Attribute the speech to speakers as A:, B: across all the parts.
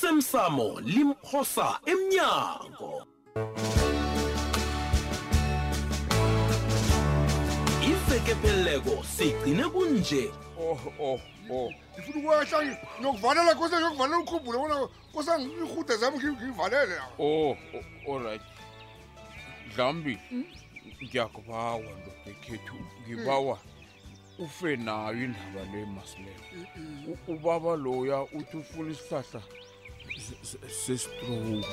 A: osemsamo limphosa emnyango ivekepheleleko sigcine kunje
B: oh oh oh ngifuna ukwehla ngi- ngiyokuvalela kose ngiyokuvalela ukhumbule bona kose ihude zami ngi- ngiyivalele lapha.
C: Oh, o- alright. Dlambi. Ngiyakubawa ndoda ekhethu. Ngibawa ufe nayo indaba le masilela. U- Ubaba loya uthi ufuna isihlahla se- se- sestroke.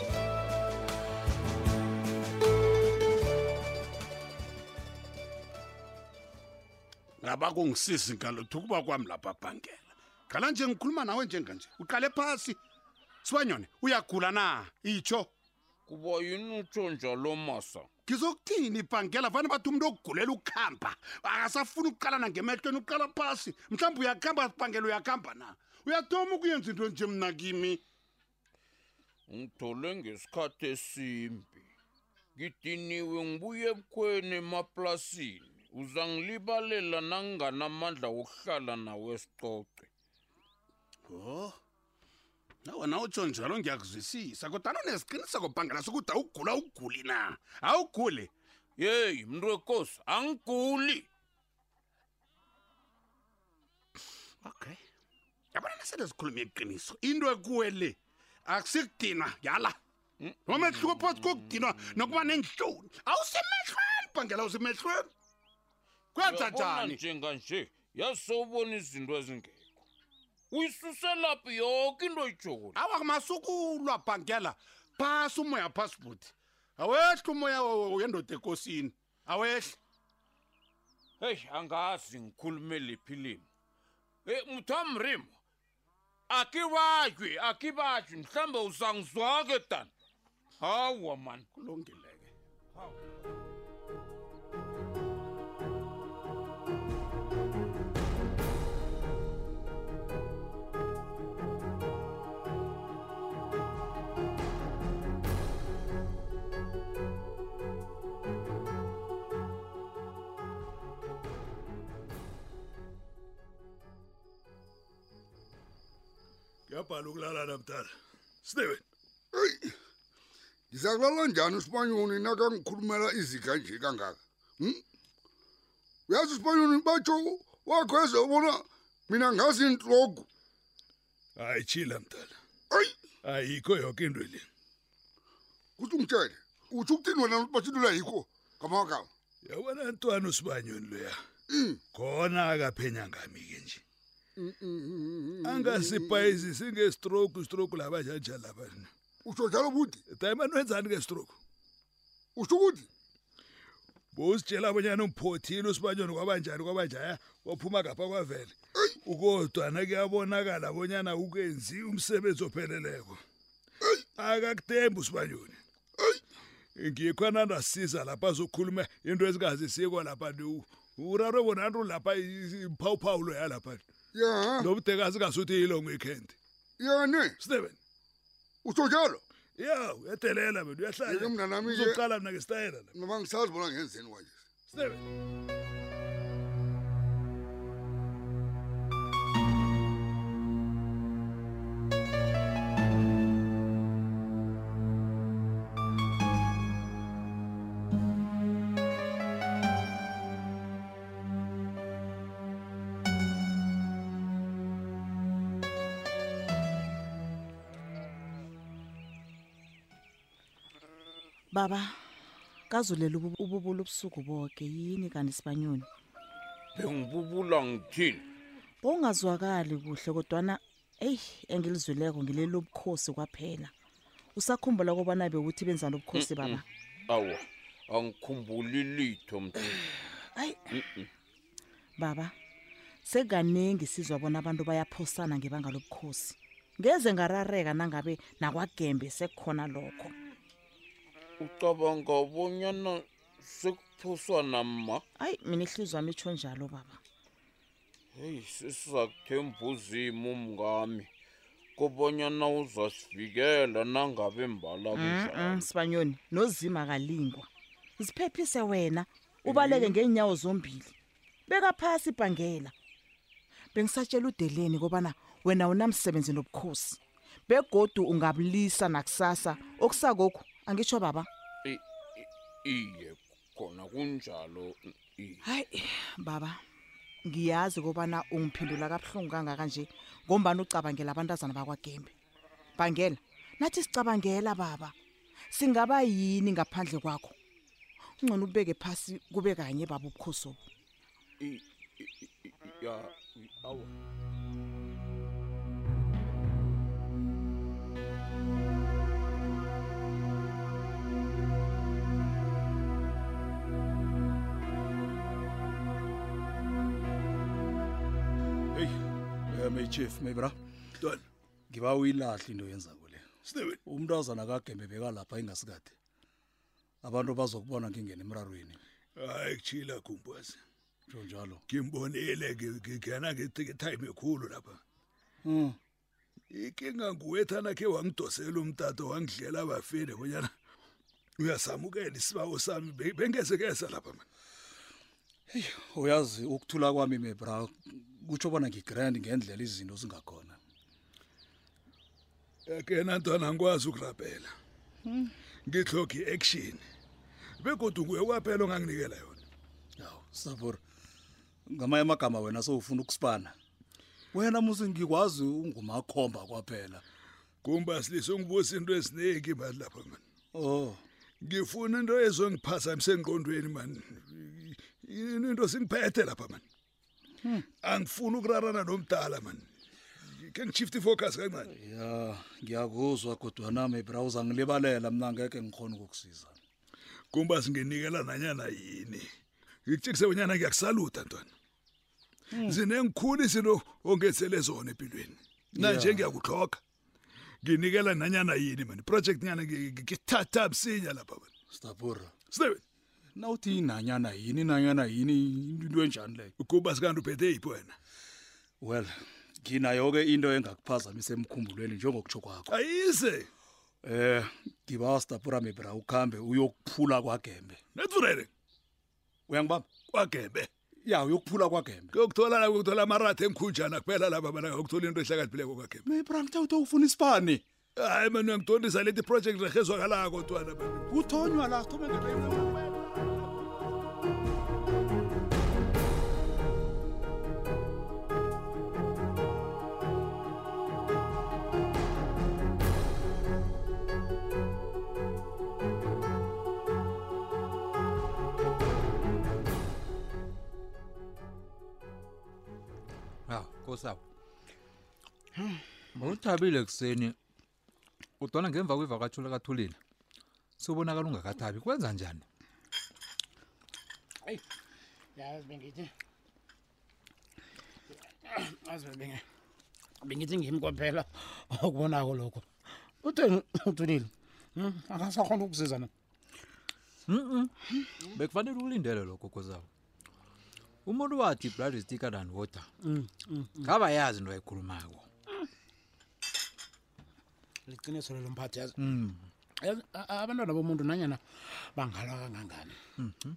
D: ngaba kungisisi ngalutho ukuba kwami lapha bhangela qala nje ngikhuluma nawe njenganje uqale phasi sibanyone uyagula na itsho
C: Kuba yini utsho njalo masa?
D: ngizokuthini ibhangela fane bathi umuntu okugulela ukuhamba akasafuni ukuqalana ngemehlweni uqala phasi mhlawumbe uyakuhamba bhangela uyakuhamba na uyathoma ukuyenza into nje mna kimi
C: Ngithole ngesikhathi esimbi. Ngidiniwe ngibuye ebukhweni emaplasini. Uzangilibalela nanginganamandla okuhlala nawe sicoce.
D: o nawona utsho njalo ngiyakuzwisisa kodwana unesiqiniseko bhangela sokuthi awugula uguli na awuguli
C: yeyi mntu wekosi angiguli
D: okay yabona nasele sikhulume iqiniso into ekuwe le akusikudinwa yala nomehluko phakathi kokudinwa nokuba nenhloni awusemehlweni bhangela usemehlweni kwenza
C: Uyabona
D: njani
C: njenganje yasobona izinto ezingekho uyisuselaphi yoke into ijoli
D: awa kumasukulwa bhangela phasi umoya phasi buthi awehle umoya yendoda ekosini awehle
C: heyi angazi ngikhulume liphi limo e mthamrimo akibatshwe akibatshwe mhlawumbe uzangizwake tani hawa mani
D: kulungileke
E: ngiyabhala ukulalana mntana steven
B: eyi ngizakulala njani usibanyoni nakangikhulumela iziga nje kangaka Hmm? uyazi usibanyoni batsho wakho ezobona mina ngazi intlogu
E: hayi chila mntana
B: eyi
E: ayikho yonke into le
B: kuthi ungitshele utsho ukuthini wena batshintula yikho ngamagama
E: yabona ntwana usibanyoni loya khona akaphenya ngami ke nje angasipayisi singestroke istroke laba njanja laba
B: utsho njalo budi
E: dayimani wenzani ngestroke
B: utsho ukuthi
E: bowusitshela abonyana umphothile usibanyoni kwabanjani kwabanjaya waphuma ngapha kwavele ukodwana kuyabonakala abonyana ukwenzi umsebenzi opheleleko akakuthembi usibanyoni ngikho anandasiza lapha azokhuluma into ezingazisikwa lapha ni urarwe bonantu lapha i- iphawuphawu loya lapha
B: ya
E: nobudekazi ngasuthi yilong weekend
B: yane
E: steven
B: utsho njalo
E: ya uyadelela mina
B: Yeke mntanami-ke-
E: uyahlalazoqala mna ngesitayela la
B: mna bangisazi bona ngenzeni kwanje
E: steven
F: baba kazulela ubu- ububula ubusuku bonke yini kanti sibanyoni
C: bengibubula ngithini
F: bowungazwakali kuhle kodwana eyi engilizwileko ngileli lobukhosi kwaphela usakhumbula kobana bewuthi benza lobukhosi baba
C: awa angikhumbuli litho mntu
F: ayi baba sekukaningi sizwa bona abantu bayaphosana ngebanga lobukhosi ngeze ngarareka nangabe nakwagembe sekukhona lokho
C: ucabanga bonyana sekuphoswana ma
F: ayi mina ihliziyo wami itsho njalo baba
C: heyi sisakuthemba uzima umngami kobonyana uzasivikela nangabe mbala
F: Mm,
C: kunjalo
F: sibanyoni nozima kalingwa ziphephise wena ubaleke ngeenyawo zombili beka phasi ibhangela bengisatshela udeleni kobana wena unamsebenzi nobukhosi begodu ungamlisa nakusasa okusakokhu angitsho baba
C: I- i- iye khona kunjalo iye
F: hayi baba ngiyazi kobana ungiphendula kabuhlungu kangaka nje ngombani ucabangela abantazana bakwagembe bangela nathi sicabangela baba singaba yini ngaphandle kwakho ungcono ubeke phasi kube kanye baba ubukhosi obu
C: I- i- i- i- ya i- awa
G: heyi um echief mebra
E: Ntwana.
G: ngiba uyilahle into yenzako le
E: Steve,
G: umntazana kagembe bekalapha ingasikade abantu bazokubona ngingena emrarweni
E: hayi kuchila kumbazi.
G: tsho njalo
E: Ngimbonile ngi- ngigena ngithi time ekhulu lapha.
G: Mm.
E: Ikinga nguwethana ke wangidosela umtato wangidlela bafile kunyana. Uyasamukela isibawo sami be- bengesekeza lapha man.
G: uyazi ukuthula kwami mebra kutsho bona ngigrand ngendlela izinto zingakhona
E: Yakena ntwana angikwazi ukurabhela. Ngithloki action. Bekodwa nguye kwaphela onganginikela yona.
G: yaw sabor ngamanye amagama wena sewufuna ukusipana wena musi ngikwazi ungumakhomba kwaphela
E: Kumba silise ungibusa into eziningi manje lapha man.
G: o
E: Ngifuna into ezongiphazamisa engqondweni man. I- Into singiphethe lapha man. Angifuni ukurarana nomdala man. Ke ngichifte focus kancane.
G: ya ngiyakuzwa kodwana mebra uzangilibalela mna ngeke ngikhona ukukusiza
E: Kumba singenikela nanyana yini. Ngikutshikise bonyana ngiyakusaluta ntwana. Zinengikhulu izinto ongethele zona empilweni. Na nje ngiyakuxhoga. Nginikela nanyana yini man. Project nyana ngikithatha msinya lapha man.
G: stabura
E: Sibe
G: nawuthi nanyana yini nanyana yini into into enjani leyo
E: ukuba sikandi uphethe ipho wena.
G: well nginayo-ke into engakuphazamisa emkhumbulweni njengokutsho kwakho
E: Ayise.
G: um ngibawa stabura mebra ukuhambe uyokuphula kwagembe
E: Nethurele.
G: uyangibamba
E: Kwagebe.
G: ya uyokuphula kwagembe
E: Kokuthola la kokuthola amaratha enkhunjana kuphela laba bana kokuthola into ehlakaniphileko kwagebe.
G: mebra Eh, ngithe uthe ufuna isipani
E: Hayi manje uyangidondisa leti project rehezwakalako ntwana baba.
G: kuthonywa la sithobengele
H: haw kosabo uthabile ekuseni udwana ngemva kwivakatsho lakathulile sobonakala ungakathabi kwenza njani
I: yazi bengithi azi benge bengithi ngimi kwaphela okubonako lokho utheni uthulile Hmm, akasakhona ukusiza na
H: Mm-mm. bekufanele ukulindele lokho kosabo umuntu wathi blood is thicker than water ngaba yazi into ayikhulumako
I: liqiniso lelo mphathi yazi Yazi, a- a- abantwana bomuntu nanyana bangalwa kangangani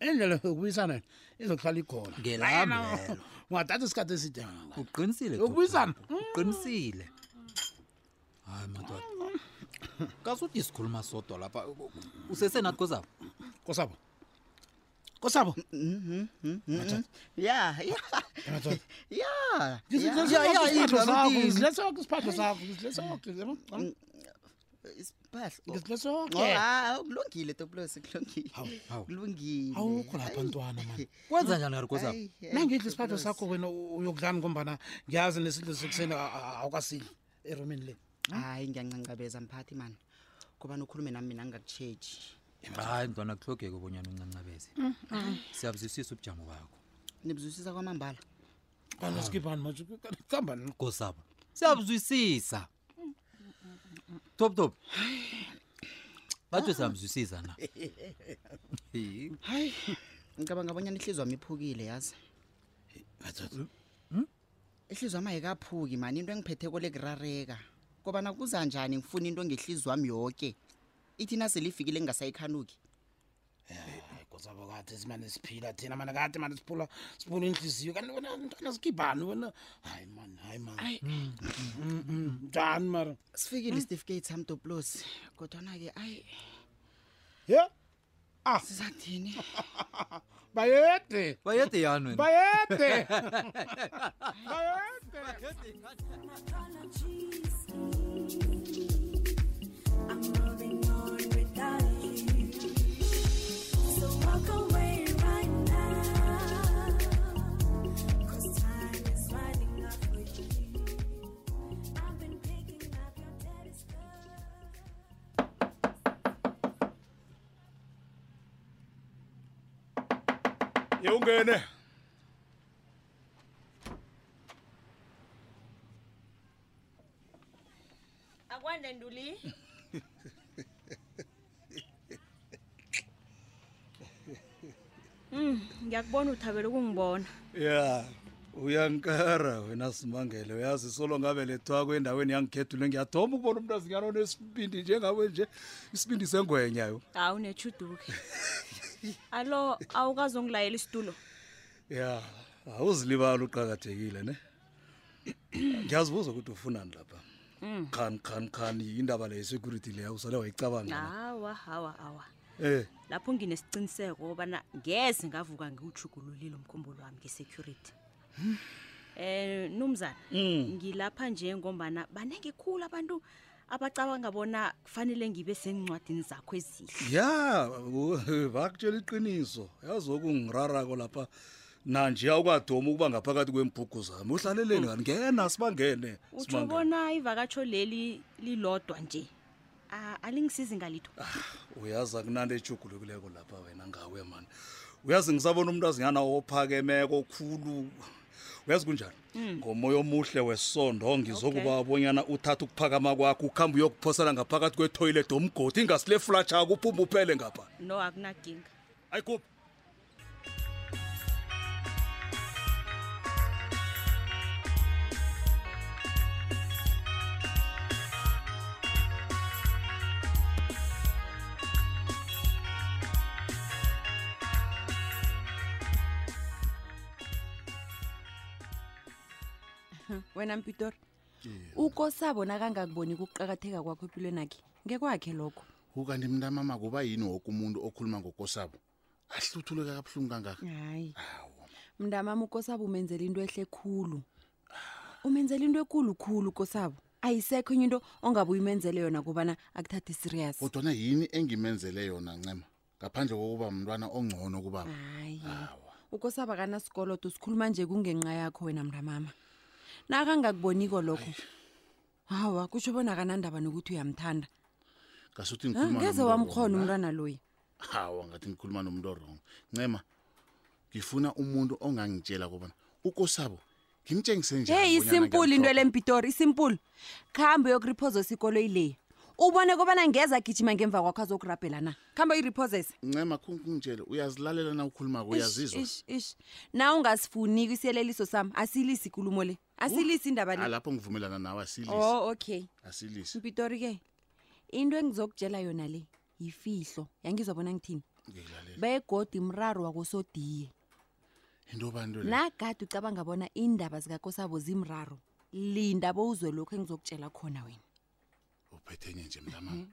I: indlela yokubuyisana izokuhlala ikhona
H: Ngelami
I: Nanyana
H: lelo.
I: ungathatha isikhathi eside kangangani
H: uqinisile
I: Yokubuyisana.
H: Thoko. uqinisile hayi madoda kasuthi sikhuluma sodwa lapha usesenathi kosabo
I: kosabo kosabo
J: ya ya
I: Madoda.
J: ya
I: Ngisilethe
J: ya,
I: sonke isiphatho
J: into
I: sakho,
J: yabini.
I: ngisilethe sonke isiphatho sakho ngisilethe sonke yabo?
J: isiphahlo
I: ngisilethe sonke
J: hawu Oh, ah, kulungile topulosi kulungile
H: hawu.
J: kulungile
I: awukho lapha ntwana mani
H: kwenza njani kari kosabo
J: Hayi, hayi,
I: nangithi isiphatho
J: Topulosi.
I: sakho wena u- uyokudlani ngombana ngiyazi nesidlo sekuseni a- a- awukasili erumini le
H: Hmm?
J: hayi ngiyancancabeza mphathi mani ngoba nokhulume nami mina ngingakutshentshi
H: hayi mntwana kuhlogeke bonyana uncancabeze siyabuzisisa ubujamo bakho
J: nibuzwisisa kwamambala
I: kana sikhipani manje kambani
H: kosabo siyabuzwisisa top top batsho siyamzwisisa na
J: hayi ngicabanga abonyana ihliziyo wami iphukile yazi Hmm?
H: Hmm?
J: ihliziyo wami ayikaphuki mani into engiphetheko lekurareka kobana kuza njani ngifuna into ngehliziyo wami yoke ithi naselifikile ngingasayikhanuki
I: kusabo kade simane siphila thina mane kade mane siphula siphula inhliziyo kanti wena mntwana sikhibhani wena hayi mani hayi mani njani mara
J: sifikile isitifiketi sam doplosi kodwana-ke ayi
I: ye ah
J: sizathini
I: bayede
H: bayede yani wena
I: bayede
E: yeungene
K: akwande nduli Mm, ngiyakubona uthabela ukungibona
G: ya uyankara wena simangele uyazi solo ngabelethwako endaweni yangikhethule ngiyathoma ukubona umntu azinyana onesibindi njengawe nje isibindi sengwenyayo
K: hayi unechuduke alo awukazongilayela isitulo
G: ya awuzilibali uqakathekile ne ngiyazibuza ukuthi ufunani lapha
K: Mm.
G: khani khani khani indaba le security leyo usale wayicabanga
K: hawa hawa hawa
G: um
K: lapho nginesiqiniseko kobana ngeze ngavuka ngiwuchugululile umkhumbulo wami nge-security um nomzana ngilapha nje ngombana banenge khulu abantu abacabanga bona kufanele ngibe sencwadini zakho ezihle
G: ya u- bakutshela iqiniso yazi okungirarako lapha nanje awukadoma ukuba ngaphakathi kwembhugu zami uhlaleleni kani ngena sibangene
K: utsho
G: sibangene.
K: bona ivakatsho leli lilodwa nje Ah, alingisizi ngalitho
G: uyazi akunanto ejugulukileko lapha wena ngawe mani uyazi ngisabona umuntu azinyana ophakemeko khulu uyazi kunjani
K: Mm.
G: ngomoya omuhle wesondo ngizokuba bonyana uthathe ukuphakama kwakho ukuhambe uyokuphosela ngaphakathi kwetoyilet omgodi ingasile flatshaka uphuma uphele ngapha
K: no akunaginga
G: ayikuphi
L: wena mpitor ukosabo nakangakuboniki ukuqakatheka kwakho empilweni akhe ngekwakhe lokho
M: ukanti mntamama kuba yini woke umuntu okhuluma ngokosabo ahluthuleka kabuhlungu kangaka
L: hayi mntamami ukosabo umenzela into ehle khulu umenzela into ekulu khulu ukosabo ayisekho enye into ongabe uyimenzele yona kubana akuthathe serious
M: kodwana yini engimenzele yona ncema ngaphandle kokuba mntwana ongcono kubaba
L: hayi ukosaba kanasikoloto sikhuluma nje kungenqa yakho wena mntamama nakangakuboniko lokho hawa kutsho bona kanandaba nokuthi uyamthanda
M: ngasuthi
L: Ah,
M: ngikhuluma
L: ngeze
M: nomuntu
L: wamkhona
M: wrong.
L: umntwana loya
M: hawa ngathi ngikhuluma nomuntu orong ncema ngifuna umuntu ongangitshela kobana ukosabo ngimtshengise nje
L: heyi isimpulu into lempitori isimpulu khambe yokuriphozosa ikoloyi leya ubone kobana ngeza agijima ngemva kwakho azokurabhela na khambe uyiriphozese
M: ncema kungitshele uyazilalela na ukhulumako uyazizwa
L: ish na ungasifuniki isiyeleliso sami asilisi ikulumo le asilisi indaba le
M: alapho Ah, ngivumelana nawe
F: Oh.
M: asilisi
L: o okay
M: asilisi
L: mpitori ke into engizokutshela yona le yifihlo yangizwa bona ngithini
M: ngiyilalela
L: begodi mraro wakosodiye
M: into bantu le
L: nagade ucabanga bona iindaba zikakosabo zimraro linda bowuzwe lokhu engizokutshela khona wena
M: uphethenye nje mntamama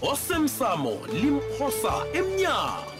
A: osemsamo limphosa emnyango